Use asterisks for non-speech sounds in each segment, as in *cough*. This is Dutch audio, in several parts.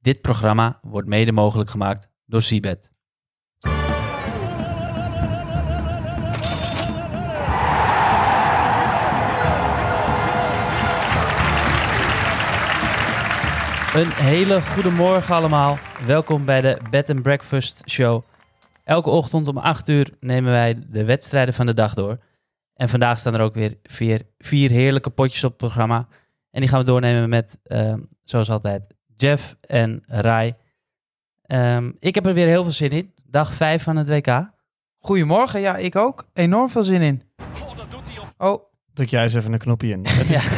Dit programma wordt mede mogelijk gemaakt door Seabed. Een hele goede morgen allemaal. Welkom bij de Bed and Breakfast Show. Elke ochtend om 8 uur nemen wij de wedstrijden van de dag door. En vandaag staan er ook weer vier, vier heerlijke potjes op het programma. En die gaan we doornemen met, ehm, zoals altijd, Jeff en Rai. Ehm, ik heb er weer heel veel zin in. Dag 5 van het WK. Goedemorgen, ja, ik ook. Enorm veel zin in. Oh, Druk jij eens even een knopje *laughs* in. Ja. *laughs*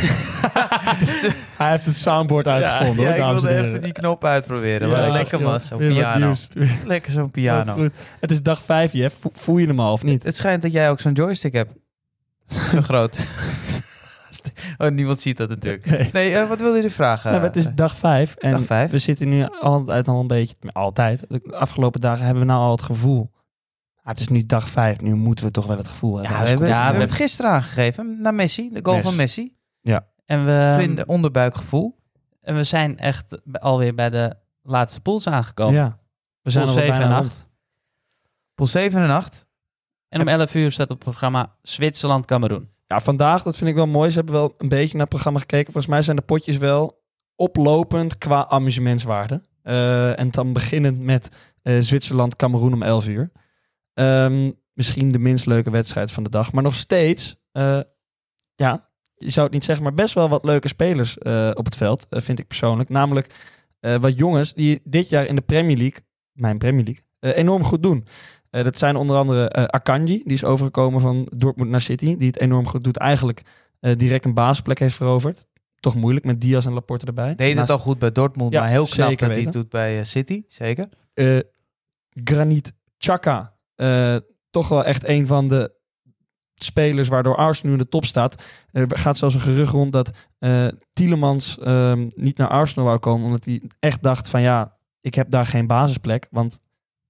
Hij heeft het soundboard uitgevonden. ja, hoor, ik dames wilde en even heren. die knop uitproberen. Ja, maar lekker joh. man, zo'n Weer wat piano. nieuws. *laughs* Weer wat Lekker zo'n piano. goed. Het is dag vijf, Jeff. Vo- Voel je hem al of niet? Het schijnt dat jij ook zo'n joystick hebt. Zo *laughs* groot. oh, niemand ziet dat natuurlijk. Nee. Nee, eh, wat wilde je vragen? Nou, het is dag vijf. En Dag vijf. we zitten nu altijd al een beetje... Altijd. De afgelopen dagen hebben we nou al het gevoel. Ah, het is nu dag vijf. Nu moeten we toch wel het gevoel hebben. ja, we Als hebben, we- we Ja, hebben met- het gisteren aangegeven naar Messi, de goal Mes. Ehm, van Messi. En we, ehm, Vrienden, onderbuikgevoel. en we zijn echt bij- alweer bij de laatste pools aangekomen. Ja. We zijn Pool al 7 bijna en rond. 8. Pool 7 en 8. En om 11 uur staat op het programma Zwitserland-Cameroen. Ja, vandaag, dat vind ik wel mooi. Ze hebben wel een beetje naar het programma gekeken. Volgens mij zijn de potjes wel oplopend qua amusementswaarde. Eh, en dan beginnend met eh, Zwitserland, Cameroen om 11 uur. Ehm, misschien de minst leuke wedstrijd van de dag. Maar nog steeds, eh, ja, je zou het niet zeggen, maar best wel wat leuke spelers eh, op het veld, eh, vind ik persoonlijk. Namelijk eh, wat jongens die dit jaar in de Premier League, mijn Premier League, eh, enorm goed doen. Eh, dat zijn onder andere eh, Akanji, die is overgekomen van Dortmund naar City. Die het enorm goed doet. Eigenlijk eh, direct een basisplek heeft veroverd. Toch moeilijk met Diaz en Laporte erbij. Deed het Naast, al goed bij Dortmund, Ja, maar heel knap zeker dat hij weten. het doet bij eh, City. Zeker. eh, Granit Xhaka. eh, toch wel echt een van de spelers waardoor Arsenal nu in de top staat. Er gaat zelfs een gerucht rond dat eh Tielemans ehm, niet naar Arsenal wou komen. Omdat hij echt dacht van ja, ik heb daar geen basisplek. Want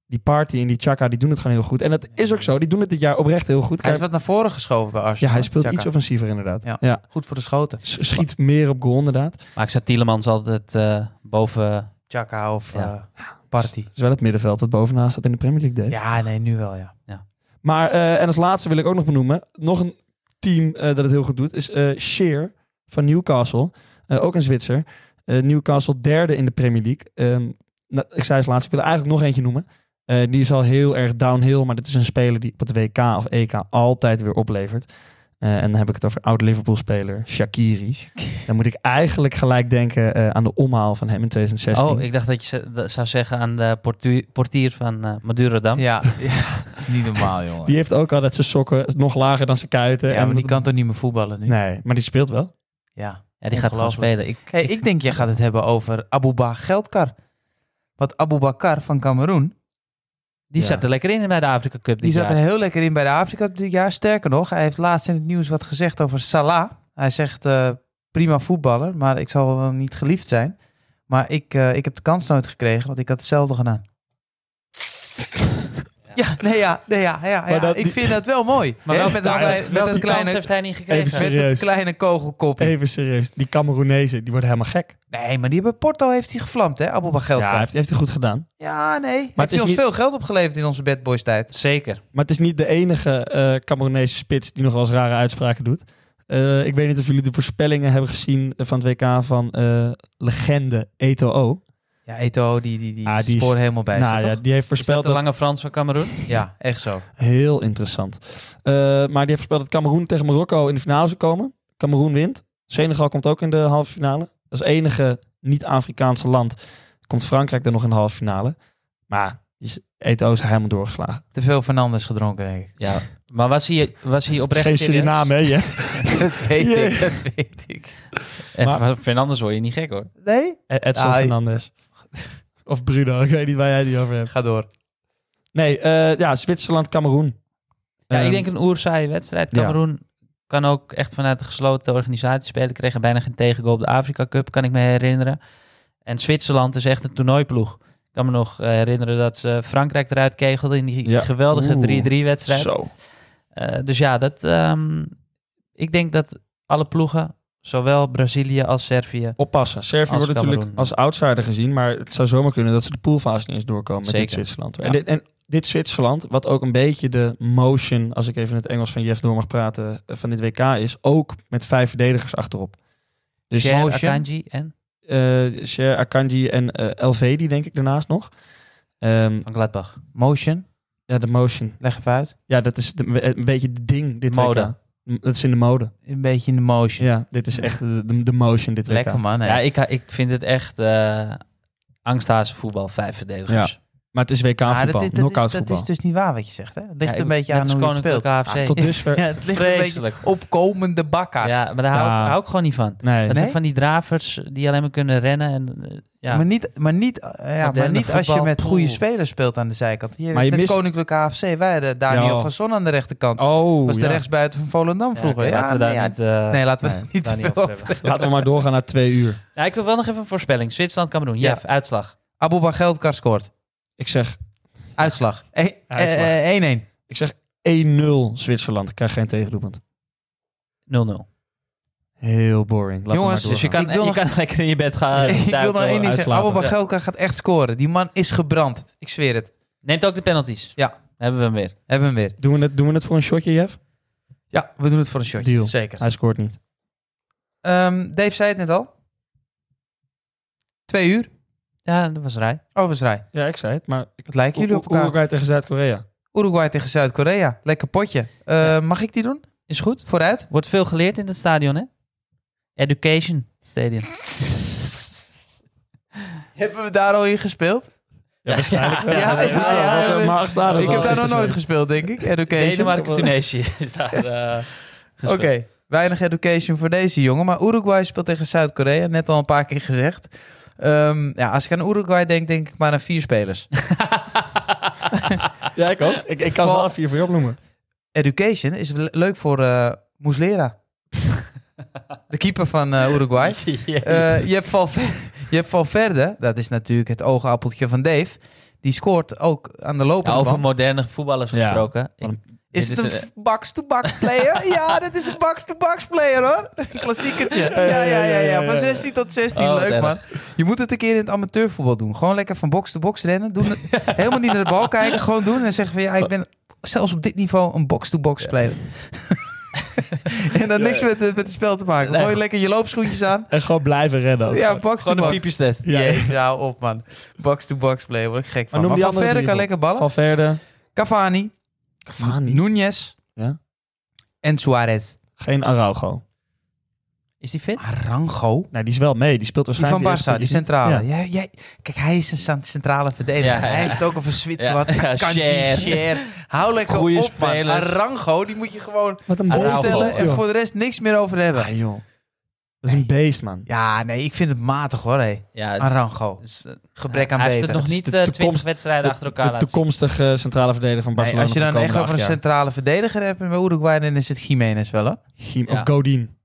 die party en die Chaka die doen het gewoon heel goed. En dat is ook zo. Die doen het dit jaar oprecht heel goed. Hij Kijk, is wat naar voren geschoven bij ja, Arsenal. hij speelt Xhaka. iets offensiever inderdaad. Ja. Ja. Goed voor de schoten. S- Schiet meer op goal inderdaad. Maar ik zat Tielemans altijd eh, boven... Chaka of eh Ja. Party. Het is wel het middenveld dat bovenaan staat in de Premier League deed. Ja, nee, nu wel, ja. Maar, eh, en als laatste wil ik ook nog benoemen, nog een team eh, dat het heel goed doet, is eh Sheer van Newcastle. Eh, ook een Zwitser. Eh, Newcastle derde in de Premier League. Ehm, nou, ik zei als laatste, ik wil er eigenlijk nog eentje noemen. Eh, die is al heel erg downhill, maar dit is een speler die op het WK of EK altijd weer oplevert. Eh, en dan heb ik het over oud-Liverpool-speler Shakiri. Dan moet ik eigenlijk gelijk denken eh, aan de omhaal van hem in 2016. Oh, ik dacht dat je ze- dat zou zeggen aan de portu- portier van eh Madurodam. Ja, *laughs* dat is niet normaal, jongen. Die heeft ook altijd zijn sokken nog lager dan zijn kuiten. ja, En- maar die kan toch niet meer voetballen nu? Nee, maar die speelt wel. Ja. Ja, die gaat gewoon Ongelooflijk. spelen. Ik, Hey, ik denk, jij gaat het hebben over Abouba Geldkar. Want Aboubakar van Cameroen, die Ja. zat er lekker in bij de Afrika Cup dit die zat jaar. er heel lekker in bij de Afrika Cup dit jaar. Sterker nog, hij heeft laatst in het nieuws wat gezegd over Salah. Hij zegt, eh, prima voetballer, maar ik zal wel niet geliefd zijn. Maar ik, eh, ik heb de kans nooit gekregen, want ik had *laughs* hetzelfde gedaan. Ja, nee, ja, nee, ja, ja, ja. Maar dat- ik die- vind dat wel mooi. Maar Hè, welke, met, dat, kans, klei- met welke dat kans kleine, heeft hij niet Even gekregen? serieus. met dat kleine kogelkopje. Even serieus, die Cameroenezen, die worden helemaal gek. Nee, maar die bij Porto heeft hij gevlamd, hè? Abouba Geldkar. Ja, Ja, heeft, heeft hij goed gedaan. nee. Maar het heeft is hij ons niet- veel geld opgeleverd in onze Bad Boys tijd. Zeker. Maar het is niet de enige eh Cameroenese spits die nog wel eens rare uitspraken doet. Eh, ik weet niet of jullie de voorspellingen hebben gezien van het WK van eh, legende Eto'o. Ja, Eto'o, die, die, die, Ah, die is- spoor helemaal bij Nou zit, ja, toch? die heeft Is dat voorspeld de dat... lange Frans van Cameroen? Ja, echt zo. Heel interessant. Eh, maar die heeft voorspeld dat Cameroen tegen Marokko in de finale zou komen. Cameroen wint. Senegal komt ook in de halve finale. Als enige niet-Afrikaanse land komt Frankrijk er nog in de halve finale. Maar Eto'o is helemaal doorgeslagen. Te veel Fernandes gedronken, denk ik. *laughs* Ja. Maar was hij, was hij oprecht Geen serieus? Suriname, hè? *laughs* Jeff? dat weet ik, Jee. dat weet ik. En Maar- van Fernandes word je niet gek hoor. Nee? E- Edson Ah, Fernandes. *laughs* Of Bruno, ik weet niet waar jij die over hebt. Ga door. Nee, eh, ja, Zwitserland, Cameroen. Ja, ik Ehm, denk een oerzaaie wedstrijd. ja. Cameroen kan ook echt vanuit een gesloten organisatie spelen. Kregen bijna geen tegengoal op de Afrika Cup, kan ik me herinneren. En Zwitserland is echt een toernooiploeg. Ik kan me nog eh, herinneren dat ze Frankrijk eruit kegelden in die Ja. geweldige Oeh. 3-3-wedstrijd. Zo. Eh, dus ja, dat, ehm, ik denk dat alle ploegen Zowel Brazilië als Servië. Oppassen. Servië Als wordt natuurlijk Cameroen. als outsider gezien, maar het zou zomaar kunnen dat ze de poolfase niet eens doorkomen met dit Zeker. Zwitserland. Ja. En, dit, en dit Zwitserland, wat ook een beetje de motion, als ik even in het Engels van Jeff door mag praten, eh, van dit WK is, ook met vijf verdedigers achterop. Dus Cher, Motion. Akanji en eh Cher, Akanji en eh Elvedi, denk ik, daarnaast nog. Ehm, Van Gladbach. Motion, ja, de motion. leg even uit. Ja, dat is de- een beetje het ding, dit Mode. WK. M- Dat is in de mode. Een beetje in de motion. Ja, dit is echt de, de, de motion, dit WK. Lekker man. hè. Ja, ik, ik vind het echt eh angsthazen voetbal, vijf verdedigers. Maar het is Maar dat, WK-voetbal, is, dat, knock-out is, dat voetbal. is dus niet waar wat je zegt. Hè? Het ligt Ja, een beetje net aan als hoe je het speelt. Koninklijk AFC. Ah, *laughs* tot dusver. Ja, het ligt een beetje Vreselijk. opkomende bakka's. Ja, maar daar hou, Ja. ik, hou ik gewoon niet van. Nee, Dat Nee? zijn van die dravers die alleen maar kunnen rennen. En, eh, ja. Maar niet, maar niet, eh, ja, maar Moderne niet als je voetbal. met goede Oeh. spelers speelt aan de zijkant. Je, Maar je met mist- Koninklijke AFC, wij hadden Daniel Ja. van Son aan de rechterkant. Oh, was de ja. rechtsbuiten van Volendam oh. Ja, vroeger. oké, Ja, laten we nee, daar ja, niet, eh, nee, laten we nee, het niet daar te niet veel over over hebben. Laten we maar doorgaan naar twee uur. Ja, ik wil wel nog even een voorspelling. Zwitserland, Cameroen. Ja. Jeff, uitslag. Abu Bageltkar scoort. Ik zeg, Uitslag. E- eh, Uitslag. eh, 1-1. ik zeg 1-0 Zwitserland. Ik krijg geen tegendoelpunt. 0-0. Heel boring. Laten Jongens, we maar Dus je kan, doorgaan. Ik wil je nog- kan lekker in je bed gaan. *laughs* ik wil nog duiken. één ding zeggen. uitslapen. Abu Bageltkar gaat echt scoren. Die man is gebrand. Ik zweer het. Neemt ook de penalties. Ja. Dan hebben we hem weer. Hebben we hem weer. doen, we het, doen we het voor een shotje, Jeff? Ja, we doen het voor een shotje. Deal. Zeker. Hij scoort niet. Ehm, Dave zei het net al. Twee uur. Ja, dat was raar. Overzrij. Ja, ik zei het, maar... Ik, Wat lijken jullie op elkaar? Uruguay tegen Zuid-Korea. Uruguay tegen Zuid-Korea. Lekker potje. Eh, Ja. Mag ik die doen? Is goed. Vooruit. Wordt veel geleerd in het stadion, hè? Education Stadium. Hebben we daar al in gespeeld? Ja, waarschijnlijk wel. Ja, ja, ja, Wat ja, een ja, maag staan is ik wel heb daar nog gisteren. nooit gespeeld, *laughs* denk ik. Education. Denemarken, Tunesië is daar eh, Oké, gespeeld. weinig education voor deze jongen. Maar Uruguay speelt tegen Zuid-Korea. Net al een paar keer gezegd. Ehm, ja, als ik aan Uruguay denk, denk ik maar aan vier spelers. *laughs* Ja, ik ook. Ik, ik kan ze Val- alle vier voor je opnoemen. *laughs* Education is le- leuk voor eh Muslera. De keeper van eh, Uruguay. Eh, je, hebt Valverde, je hebt Valverde, dat is natuurlijk het oogappeltje van Dave. Die scoort ook aan de Ja, lopende over band. moderne voetballers Ja. gesproken. Ik- Is dit het een is een- f- box-to-box player? ja, dit is een box-to-box player hoor. Een Klassiekertje. Ja, ja, ja, ja, Van 16 tot 16, Oh, wat leuk erg. man. Je moet het een keer in het amateurvoetbal doen. Gewoon lekker van box-to-box rennen. Doen het- helemaal niet naar de bal kijken. Gewoon doen en zeggen van ja, ik ben zelfs op dit niveau een box-to-box player. *laughs* en dan niks met, het- met het spel te maken. Nee. Gooi lekker je loopschoentjes aan. En Oh, gewoon blijven rennen. ook. Ja, box to Gewoon een box. piepjestest. Ja. Jezus, hou op man. Box to box play, word ik gek van. noem Maar, die van andere verder kan drie dan. lekker ballen. Valverde. Cavani, Cavani. Núñez Ja. en Suarez. Geen Araujo. Is die fit? Arango? Nee, Nou, die is wel mee. Die speelt Die van waarschijnlijk... de eerste- Barca, die centrale. Ja. Jij, jij, kijk, hij is een cent- centrale verdediger. Ja, ja. Hij heeft ook over Zwitserland. Ja, ja, Kanji, Cher. Cher. Hou lekker Goeie op, man. spelers. Arango, die moet je gewoon Wat een Araujo. omstellen en joh. voor de rest niks meer over hebben. Ah, joh. Dat is een beest, man. Ja, nee, ik vind het matig hoor, hé. Ja, Arango. het is- eh, Gebrek Ah. aan hij heeft beter. het nog is niet de eh, toekomst- 20 wedstrijden de- achter elkaar De laten zien. toekomstige eh, centrale verdediger van Nee, Barcelona. als je dan van de echt over komende een acht centrale verdediger hebt met Uruguay, dan is het Jiménez wel, hè? jaar. Gim- Ja. Of Godin.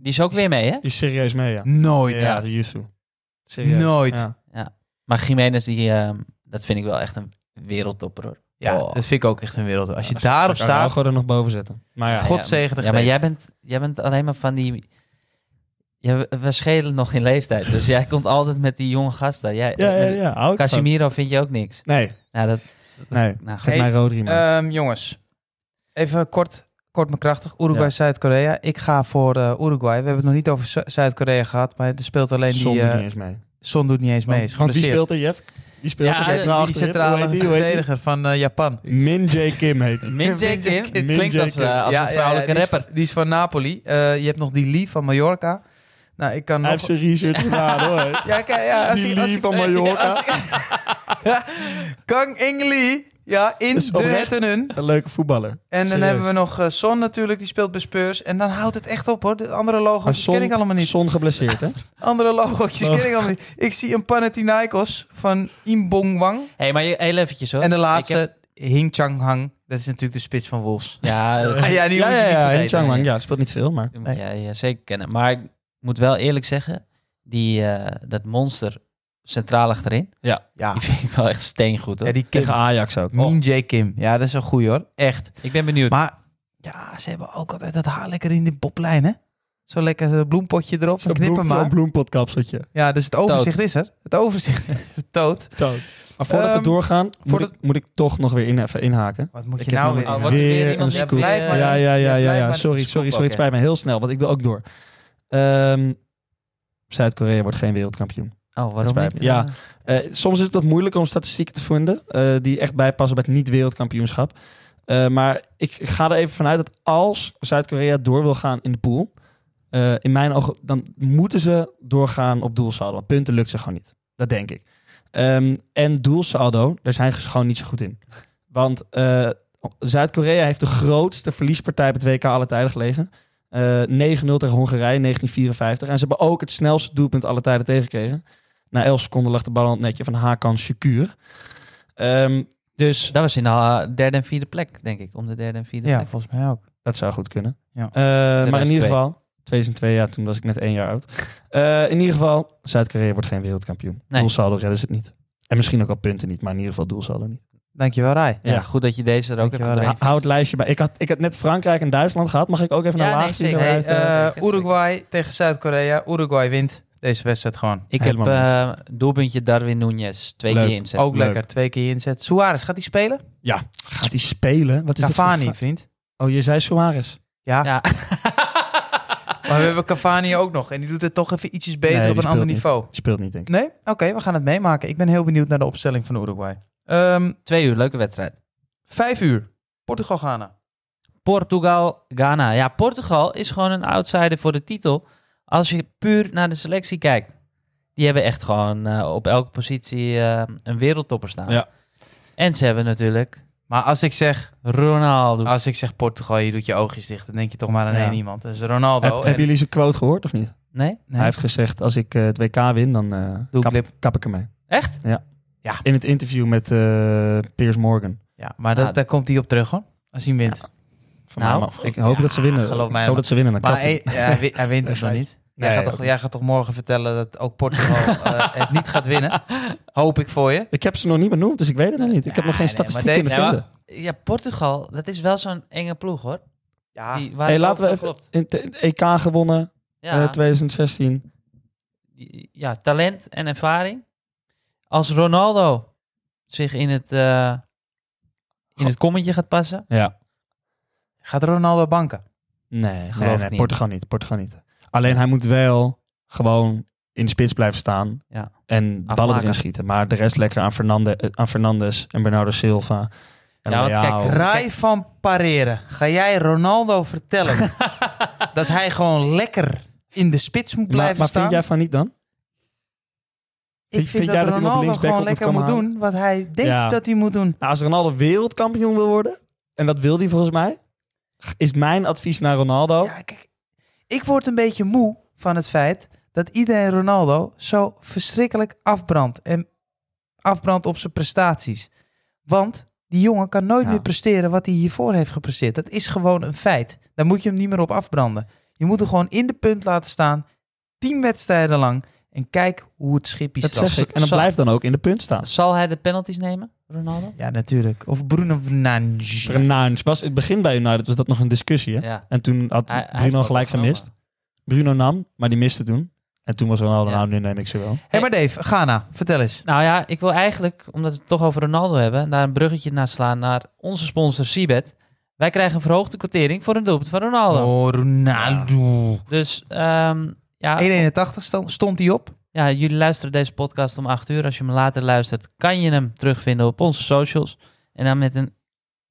Die Die is ook weer mee, hè? is serieus mee, ja. Nooit. Ja, de Yusu. Serieus. Nooit. Ja. Maar Jiménez, die, ehm, dat vind ik wel echt een wereldtopper, hoor. Ja, Oh. dat vind ik ook echt een wereld. Als je Als- daarop als ik Araujo staat, er nog boven zetten. Maar ja. God zegen de Ja, maar greep. jij bent, jij bent alleen maar van die... Ja, we- we schelen nog in leeftijd. Dus jij komt altijd met die jonge gasten. Jij, Ja, eh, ja, ja. hou ik van. Casimiro vind je ook niks. Nee, Nou, dat, nee. nou, Geef goed. Hey, mij Rodri, man. Ehm, jongens, even kort, kort maar krachtig. Uruguay, Ja. Zuid-Korea. Ik ga voor eh, Uruguay. We hebben het nog niet over Zu- Zuid-Korea gehad, maar er speelt alleen Son die... doet niet eh eens mee. Son doet niet eens mee. Want, Is want wie geblesseerd. speelt er, Jeff? Die speelt Ja, er die- die centraal achterin. Hoe centrale heet die? Hoe heet die? verdediger van eh, Japan. Min J. Kim heet die. Min Min Jae Jae Kim Kim. klinkt Min als, Jae eh, Kim. als Ja, een ja, vrouwelijke ja, die is- rapper. die is van Napoli. Eh, je hebt nog die Lee van Mallorca. Nou, ik kan Hij heeft nog... zijn research gedaan, hoor. Ja, kijk, ja, als Die ik- als Lee ik- van nee, Mallorca. *laughs* Kang Eng Lee. Ja, in Is de oprecht. Hettenun. Een leuke voetballer. En dan Serieus. hebben we nog eh, Son natuurlijk, die speelt bij Spurs. En dan houdt het echt op hoor. De andere Maar logo's die Son- ken ik allemaal niet. eh, Son *laughs* geblesseerd, hè? Andere logo's Oh. ken ik allemaal niet. Ik zie een Panathinaikos van Imbong Wang. hey, maar je- heel eventjes, hoor. En de Ik laatste, heb- Hing Chang Hang. Dat is natuurlijk de spits van Wolves. Ah, Ja, dat- ja, die ja, moet je ja, niet ja. vergeten. Changwang, ja, speelt niet veel, maar... Die moet jij eh, zeker kennen. Maar ik moet wel eerlijk zeggen, die, eh, dat monster centraal achterin, Ja. die vind ik wel echt steengoed. Hoor. Ah. Ja, die Kim. Tegen Ajax ook. Oh. Min Jae Kim. Ja, dat is een goeie hoor. Echt. Ik ben benieuwd. Maar ja, ze hebben ook altijd dat haar lekker in de poplijn hè. Zo lekker een bloempotje erop, een knippermaak. bloempotkapseltje. Ja, dus het overzicht is er. Het overzicht is er dood. Maar voordat Ehm, we doorgaan, moet, voordat- ik, moet ik toch nog weer in, even inhaken. Wat moet Ik je heb nou nog weer? Oh, in? wat Weer weer iemand een net scoop. weer- Blijf maar- ja, Ja, dan- ja, ja, ja, ja, blijf ja. maar Sorry, de sorry, scoop sorry. Het pakken. spijt mij heel snel, want ik wil ook door. Ehm, Zuid-Korea wordt geen wereldkampioen. Oh, Het waarom spijt niet? me. Ja. Eh, soms is het wat moeilijk om statistieken te vinden eh, die echt bijpassen bij het niet-wereldkampioenschap. Eh, maar ik, ik ga er even vanuit dat als Zuid-Korea door wil gaan in de pool, eh, in mijn ogen, dan moeten ze doorgaan op doelsaldo. Want punten lukt ze gewoon niet. Dat denk ik. Ehm, en doelsaldo, daar zijn ze gewoon niet zo goed in. Want eh, Zuid-Korea heeft de grootste verliespartij op het WK alle tijden gelegen. Eh, 9-0 tegen Hongarije, 1954. En ze hebben ook het snelste doelpunt alle tijden tegengekregen. Na 11 seconden lag de bal aan het netje van Hakan Şükür. Ehm, dus Dat was in de eh, derde en vierde plek, denk ik. Om de derde en vierde Ja, plek. volgens mij ook. dat zou goed kunnen. Ja. Eh, maar in ieder geval, 2002, ja, toen was ik net één jaar oud. Eh, in ieder geval, Zuid-Korea wordt geen wereldkampioen. Nee. Doelsaldo redden ze het niet. En misschien ook al punten niet, maar in ieder geval doelsaldo niet. Dankjewel, Rai. Ja, Ja. goed dat je deze er ook hebt Dankjewel, gedaan. Hou hou het lijstje bij. Ik had, ik had net Frankrijk en Duitsland gehad. Mag ik ook even Ja, naar nee, laatste? zeker. zo Hey, uit, eh, eh, Eh, zeker. Uruguay tegen Zuid-Korea. Uruguay wint deze wedstrijd gewoon. Ik heb Helemaal eh doelpuntje Darwin Núñez twee Leuk. keer inzet. Ook leuk. lekker, twee keer inzet. Suarez, gaat hij spelen? Gaat hij spelen? Wat is dat voor Cavani, vra- vriend. Oh, je zei Suarez. Ja. Ja. *laughs* maar we hebben Cavani ook nog. En die doet het toch even ietsjes beter Nee, die op een ander speelt niet. niveau. Speelt niet, denk ik. Nee? Oké, we gaan het meemaken. Ik ben heel benieuwd naar de opstelling van Uruguay. Ehm, Twee uur, leuke wedstrijd. vijf uur. Portugal-Ghana. Portugal, Ghana. Ja, Portugal is gewoon een outsider voor de titel. Als je puur naar de selectie kijkt. Die hebben echt gewoon eh, op elke positie eh, een wereldtopper staan. Ja. En ze hebben natuurlijk Maar als ik zeg, Ronaldo. als ik zeg Portugal, je doet je oogjes dicht. Dan denk je toch maar aan Ja. één iemand. Dat is Oh, Ronaldo. Heb, En- hebben jullie zijn quote gehoord of niet? Nee? Nee? Hij heeft gezegd, als ik eh, het WK win, dan eh, Doe ik kap, lip. kap ik ermee. Echt? In het interview met eh Piers Morgan. Ja, maar dat, Ah. daar komt hij op terug hoor. Als hij hem wint. Van Nou, mij mag. ik hoop dat ze winnen. geloof mij ik maar. hoop dat ze winnen. Dan maar e- kapt hij. hij, ja, hij win- *laughs* hij wint hem nog Nee, niet. Jij, gaat toch, ook jij gaat toch morgen vertellen dat ook *laughs* Portugal eh, het niet gaat winnen? Hoop ik voor je. Ik heb ze nog niet benoemd, dus ik weet het nog niet. Ik heb nog geen Nee, nee, maar statistiek kunnen deze- Ja, vinden. Ja, Portugal, dat is wel zo'n enge ploeg hoor. Ja, Die, waar Hey, het laten we overal klopt. In het EK gewonnen, eh, Ja, 2016. ja, talent en ervaring. Als Ronaldo zich in het, eh, in het kommetje gaat passen. Ja. gaat Ronaldo banken? Oh, Nee, geloof nee, ik nee, niet. Portugal niet. Portugal niet. Alleen hij moet wel gewoon in de spits blijven staan. Ja. En ballen Afmaken. erin schieten. Maar de rest lekker aan, Fernande, eh, aan Fernandes en Bernardo Silva. En Ja, want Leao. kijk, Rai van Pareren, ga jij Ronaldo *laughs* vertellen dat hij gewoon lekker in de spits moet maar, blijven maar staan? vind jij van niet dan? ik vind, vind dat jij dat iemand Ronaldo linksback gewoon op moet lekker moet komen halen? doen wat hij denkt Ja. dat hij moet doen. Nou, als Ronaldo wereldkampioen wil worden, en dat wil hij volgens mij, is mijn advies naar Ronaldo. Ja, kijk, ik word een beetje moe van het feit dat iedereen Ronaldo zo verschrikkelijk afbrandt. En afbrandt op zijn prestaties. Want die jongen kan nooit Ja. meer presteren wat hij hiervoor heeft gepresteerd. Dat is gewoon een feit. Daar moet je hem niet meer op afbranden. Je moet hem gewoon in de punt laten staan. Tien wedstrijden lang. En kijk hoe het schipje dat stapt. zeg ik. En dat Zal- blijft dan ook in de punt staan. Zal hij de penalties nemen, Ronaldo? Ja, natuurlijk. Of Bruno Fernandes. Fernandes was in het begin bij United was dat nog een discussie. Hè? Ja. En toen had Hij- hij heeft Bruno wel gelijk genomen. gemist. Bruno nam, maar die miste toen. En toen was Ronaldo, Ja. nou nu neem ik ze wel. Hé, maar Dave, Ghana, vertel eens. Nou ja, ik wil eigenlijk, omdat we het toch over Ronaldo hebben, daar een bruggetje naar slaan naar onze sponsor Seabed. Wij krijgen een verhoogde quotering voor een doelpunt van Ronaldo. Oh, Ronaldo. Dus ehm, ja, 1,81 stond- stond hij op. ja, jullie luisteren deze podcast om 8 uur. Als je hem later luistert, kan je hem terugvinden op onze socials. En dan met een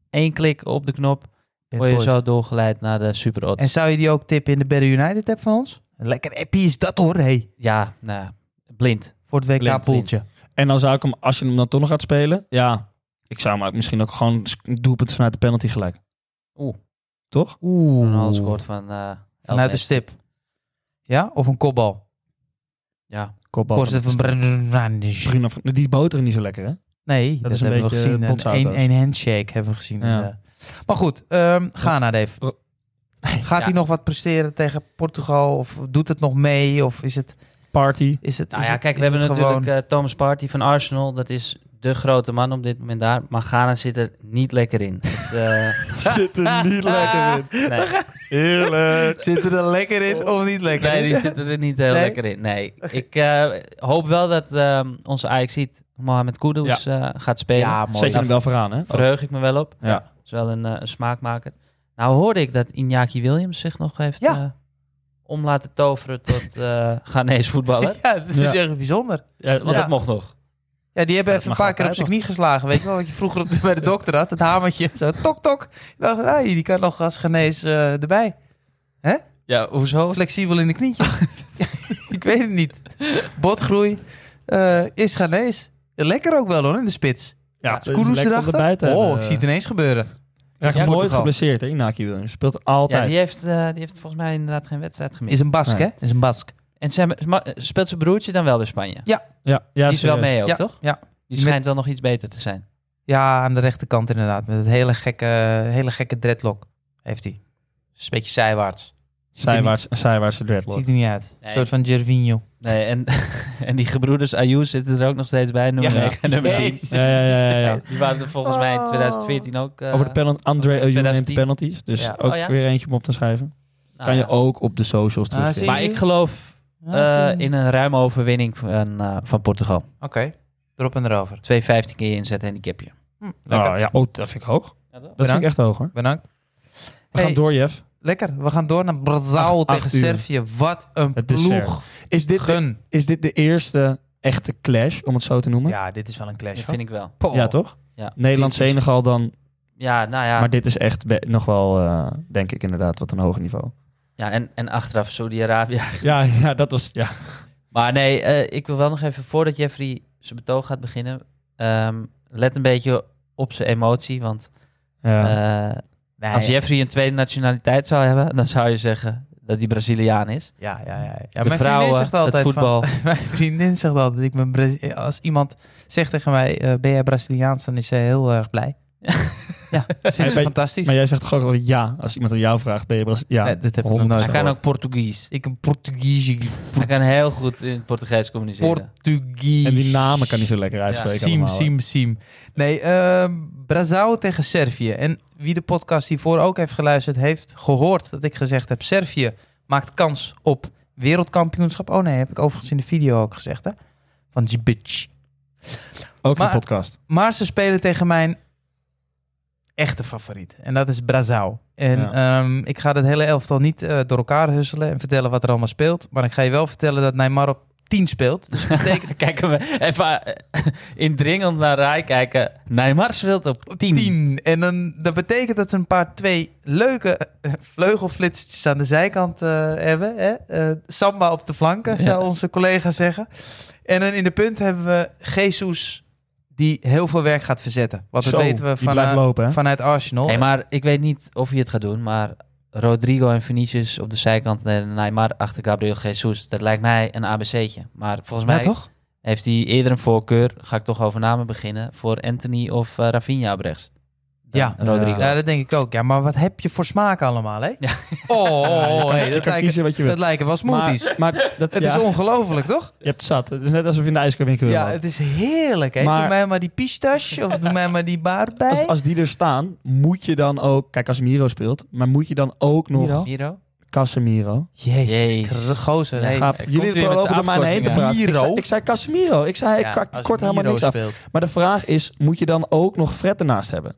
één klik op de knop word je Boys. zo doorgeleid naar de Super Odds. En zou je die ook tippen in de Better United app van ons? Een lekker appie is dat hoor, hey. Ja, nou, ja, blind. Voor het Blind WK-poeltje. En dan zou ik hem, als je hem dan toch nog gaat spelen, ja, ik zou hem ook misschien ook gewoon s- een doelpunt vanuit de penalty gelijk. Oeh. Toch? Oeh. Ronaldo scoort van eh elf Vanuit de meter. stip. Ja, of een kopbal. Ja. Kopbal. Voorzet van Brandage. Bruno, van- die boter niet zo lekker, hè? Nee, dat, is een hebben we beetje gezien. botsauto's. Eén één handshake hebben we gezien. Ja. Eh, Maar goed, ehm Ghana, Dave. Ro- Gaat Ja. hij nog wat presteren tegen Portugal? Of doet het nog mee? Of is het... Party. Is het Nou is ja, het- kijk, we is hebben het natuurlijk gewoon- eh, Thomas Partey van Arsenal. Dat is de grote man op dit moment daar. Maar Ghana zit er niet lekker in. *laughs* eh, Zit er niet lekker in. nee, Heerlijk. Zit er dan lekker in of niet lekker nee, in? die zitten er niet heel Nee? lekker in. Nee, ik eh, hoop wel dat ehm, onze ajax Mohamed Kudus eh, gaat spelen. Ja, mooi. Zet je hem wel vooraan, hè? Verheug ik me wel op. Ja. Dat is wel een, eh, een smaakmaker. Nou hoorde ik dat Iñaki Williams zich nog heeft Ja. eh, om laten toveren tot eh Ghanese *laughs* voetballer. Ja, dat is echt bijzonder. Ja, want Ja. dat mocht nog. Ja, die hebben Ja, dat even een mag paar keer op altijd zijn knie geslagen. Weet je wel, wat je vroeger op de- bij de dokter had. Het hamertje, zo tok tok. Ik dacht, ah, die kan nog als genees eh, erbij. Ja, hoezo? Flexibel in de knietjes. *laughs* Ja, ik weet het niet. Botgroei eh, is genees. Lekker ook wel hoor, in de spits. Ja, Koeroes erachter. Oh, ik zie het het. ineens gebeuren. Raakt Ja, nooit Portugal. geblesseerd, hè? Naki Williams. Speelt Ja, altijd. die heeft, eh, die heeft volgens mij inderdaad geen wedstrijd gemist. Is een Bask, Nee. hè? Is een Bask. En ze hebben- ma- speelt zijn broertje dan wel bij Spanje? Ja, ja, die is wel serieus. mee ook, Ja, toch? ja. Die Met- schijnt wel nog iets beter te zijn. Ja, aan de rechterkant inderdaad. Met het hele gekke, hele gekke dreadlock heeft hij. Dus een beetje zijwaarts. Zijwaarts, zijwaarts de dreadlock. Ziet er niet uit. Nee. Een soort van Gervinho. Nee, en, *laughs* en die gebroeders Ayouz zitten er ook nog steeds bij, nummer Ja. 9 en nummer 10. Jezus. Ja, ja, ja, ja, ja. Die waren er volgens mij Oh. in 2014 ook. eh, Over de penalty. André Ayew neemt de 2010. penalties. Dus Ja. ook Oh, ja? weer eentje om op te schrijven. nou kan je ja. ook op de socials Ah, terugvinden. zie Maar ik geloof eh, in een ruime overwinning van, eh, van Portugal. 2,15 Oké, erop en erover. keer je inzet handicapje. Hm, lekker. Oh, ja, oh, dat vind ik hoog. Dat vind Bedankt. ik echt hoog, hoor. Bedankt. We Hey, gaan door, Jeff. Lekker, we gaan door naar Brazil Acht- acht tegen uur. Servië. Wat een Het dessert. ploeg. Is dit, de, Gun. is dit de eerste echte clash, om het zo te noemen? Ja, Ja, dit is wel een clash. Dat hoor. vind ik wel. Poh. toch? Ja. Nederland-Senegal dan. Ja, nou ja. Maar dit is echt be- nog wel, eh, denk ik inderdaad, wat een hoger niveau. ja en, en achteraf Saudi-Arabië. Ja, *laughs* ja dat was... Ja. Maar nee, eh, ik wil wel nog even, voordat Jeffrey zijn betoog gaat beginnen, ehm, let een beetje op zijn emotie. Want eh, Nee, als Jeffrey een tweede nationaliteit zou hebben, dan zou je zeggen dat hij Braziliaan is. Ja, ja, ja. ja. ja de mijn vrouwen, vriendin zegt altijd het van- voetbal. *laughs* Mijn vriendin zegt altijd, ik ben Brazi- als iemand zegt tegen mij, eh, ben jij Braziliaans, dan is zij heel erg blij. ja, dat Maar vindt ze ben- fantastisch. Maar jij zegt gewoon wel ja. Als iemand aan jou vraagt, ben je Brazil? Ja, Nee, dit heb ik nog 100% nooit Hij kan gehoord. ook Portugees. Ik een Portugies. Hij kan heel goed in het Portugees communiceren. *laughs* Portugies. En die namen kan hij zo lekker uitspreken. Siem, allemaal, hè. Siem, Siem. Nee, ehm Brazil tegen Servië. En wie de podcast hiervoor ook heeft geluisterd, heeft gehoord dat ik gezegd heb: Servië maakt kans op wereldkampioenschap. Oh nee, heb ik overigens in de video ook gezegd, hè? Van Zibic. Ook Maar- een podcast. Maar ze spelen tegen mijn echte favoriet. En dat is Brazil. En ehm, ik ga dat hele elftal niet eh, door elkaar husselen en vertellen wat er allemaal speelt. Maar ik ga je wel vertellen dat Neymar op 10 speelt. Dus dat betekent Kijken we even eh, *laughs* indringend naar Rai kijken. Neymar speelt op 10. 10. En dan, dat betekent dat ze een paar twee leuke eh, vleugelflitsertjes aan de zijkant eh, hebben. Hè? Eh, samba op de flanken, zou onze collega zeggen. En dan in de punt hebben we Jesus, die heel veel werk gaat verzetten. Want dat Zo, weten we eh, Die blijft vanuit, lopen, hè? vanuit Arsenal. Hey, maar ik weet niet of hij het gaat doen, maar Rodrigo en Vinicius op de zijkant en Neymar achter Gabriel Jesus, dat lijkt mij een ABC'tje. Maar volgens ja, mij toch? heeft hij eerder een voorkeur, ga ik toch over namen beginnen, voor Anthony of eh, Rafinha op rechts. Dan Ja. Rodrigo. Ja, dat denk ik ook. Ja, maar wat heb je voor smaak allemaal, *laughs* hè? Ja. Oh, oh, Ja, oh, je kan- hey, je dat, kan lijken, kiezen wat je dat wilt. lijken wel smoothies. Maar, maar *laughs* dat, het ja, is ongelooflijk, toch? je hebt het zat. Het is net alsof je in de ijskerwinkel Ja, loopt. het is heerlijk, hè? Maar- Doe mij maar die pistache of doe mij maar die baardbei. Als, als die er staan, moet je dan ook... Kijk, Casemiro speelt. Maar moet je dan ook nog Miro? Hiro? Casemiro? Jezus, Jezus. Christus, gozer. Ja, hey. Gaap, hij komt jullie weer met lopen zijn er mij heen te praten. afkortingen. Miro? Ik zei, ik zei Casemiro. Ik zei, Ja, hij ka- als kort helemaal Miro niks af. speelt. Maar de vraag is, moet je dan ook nog Fred ernaast hebben?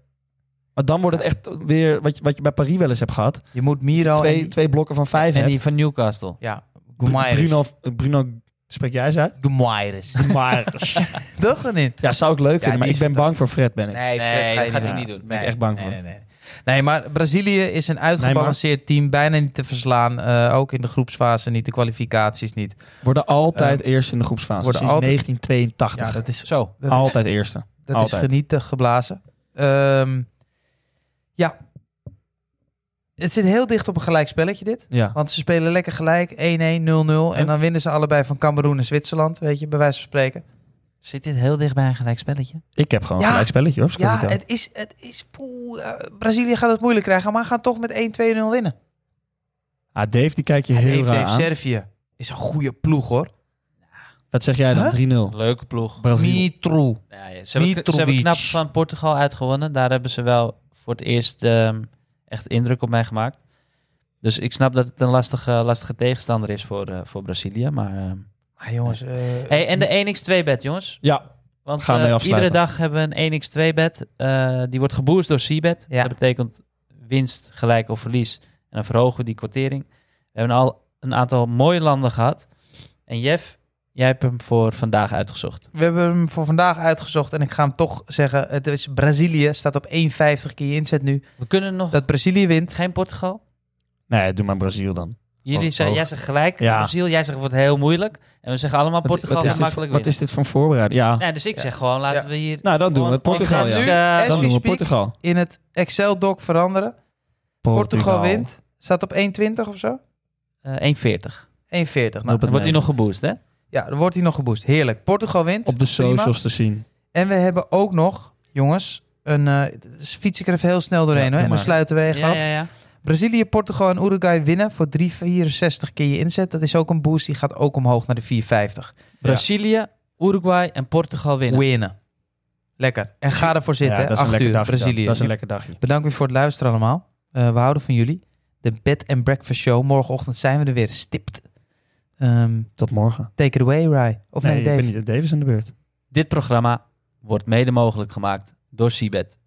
Maar dan wordt het echt weer wat je, wat je bij Paris wel eens hebt gehad. Je moet Miro Nou, en Twee, die- twee blokken van vijf En hebt. die van Newcastle. Ja, Br- Gumaires. Bruno, Bruno, spreek jij eens uit? Gumaires. Maar, *laughs* toch of niet? ja, zou ik leuk vinden, die maar is ik ben bang voor Fred, ben ik. Nee, dat gaat hij niet doen. ben ik echt bang voor. Nee, nee, nee. Nee, maar Brazilië is een uitgebalanceerd team. Bijna niet te verslaan. eh, ook in de groepsfase niet, de kwalificaties niet. Worden altijd eerst in de groepsfase. Eh, worden Sinds altijd- 1982. Ja, dat is, Zo. dat is altijd eerste. Dat Altijd. is genieten geblazen. Ehm, ja. Het zit heel dicht op een gelijkspelletje dit. Ja. Want ze spelen lekker gelijk. 1-1, 0-0. En dan winnen ze allebei van Cameroen en Zwitserland. Weet je, bij wijze van spreken. Zit dit heel dicht bij een gelijkspelletje? Ik heb gewoon Ja. een gelijk spelletje hoor. Ja, Ja, het is... Het is poeh, eh, Brazilië gaat het moeilijk krijgen. Maar gaat toch met 1-2-0 winnen. ah, Dave, die kijk je heel Heeft- raar heeft aan. Servië is een goede ploeg hoor. Wat zeg jij dan? 3-0. Leuke ploeg. Brazil. Mitro. Ja, ja, Ze, hebben, ze hebben Mitrovic. knap van Portugal uitgewonnen. Daar hebben ze wel voor het eerst ehm, echt indruk op mij gemaakt. Dus ik snap dat het een lastige, lastige tegenstander is voor, eh, voor Brazilië. Maar, ehm. Maar jongens... eh, hey, en de 1x2-bet, jongens. Ja, Want Gaan eh, wij afsluiten. iedere dag hebben we een 1x2-bet. Eh, die wordt geboost door Seabet. Ja. Dat betekent winst, gelijk of verlies. En dan verhogen we die kwartering. We hebben al een aantal mooie landen gehad. En Jeff, jij hebt hem voor vandaag uitgezocht. We hebben hem voor vandaag uitgezocht en ik ga hem toch zeggen. Het is Brazilië staat op 1,50 keer je inzet nu. We kunnen nog... Dat Brazilië wint. Geen Portugal? nee, doe maar Brazil dan. Jullie Hoog- zijn, hoog. jij zegt gelijk, Ja. Brazil, jij zegt wordt heel moeilijk. En we zeggen allemaal Portugal wat is, gaat dit, makkelijk wat winnen. is dit van voorbereiding? Ja, Nee, dus ik Ja. zeg gewoon, laten Ja. we hier... nou dan doen we gewoon- Portugal. Ik ga dus, eh, nu- Ja. zeggen, As Dan we doen we speak, Portugal. In het Excel-doc veranderen. Portugal, wint. Staat op 1,20 of zo? 1,40. eh, 1,40. Nou, Op Dan het dan- wordt hij negen. nog geboost, hè? ja, dan wordt hij nog geboost. Heerlijk. Portugal wint. Op de Prima. socials te zien. En we hebben ook nog, jongens, een. eh, dus fiets ik er even heel snel doorheen Ja, hoor. doe En dan maar. sluiten we echt Ja, af. ja, ja. Brazilië, Portugal en Uruguay winnen voor 3,64 keer je inzet. Dat is ook een boost. Die gaat ook omhoog naar de 4,50. Brazilië, Uruguay en Portugal winnen. Winnen. Lekker. En ga ervoor zitten. Ja, hè. dat is een Acht lekker uur, dagje. Brazilië. dan. Dat is een lekker dagje. Bedankt weer voor het luisteren allemaal. Eh, we houden van jullie. De Bed and Breakfast Show. Morgenochtend zijn we er weer. Stipt. Ehm, Tot morgen. take it away, Rai. Of nee, Nee, ik Dave. ben niet. Dave is aan de beurt. Dit programma wordt mede mogelijk gemaakt door Cibet.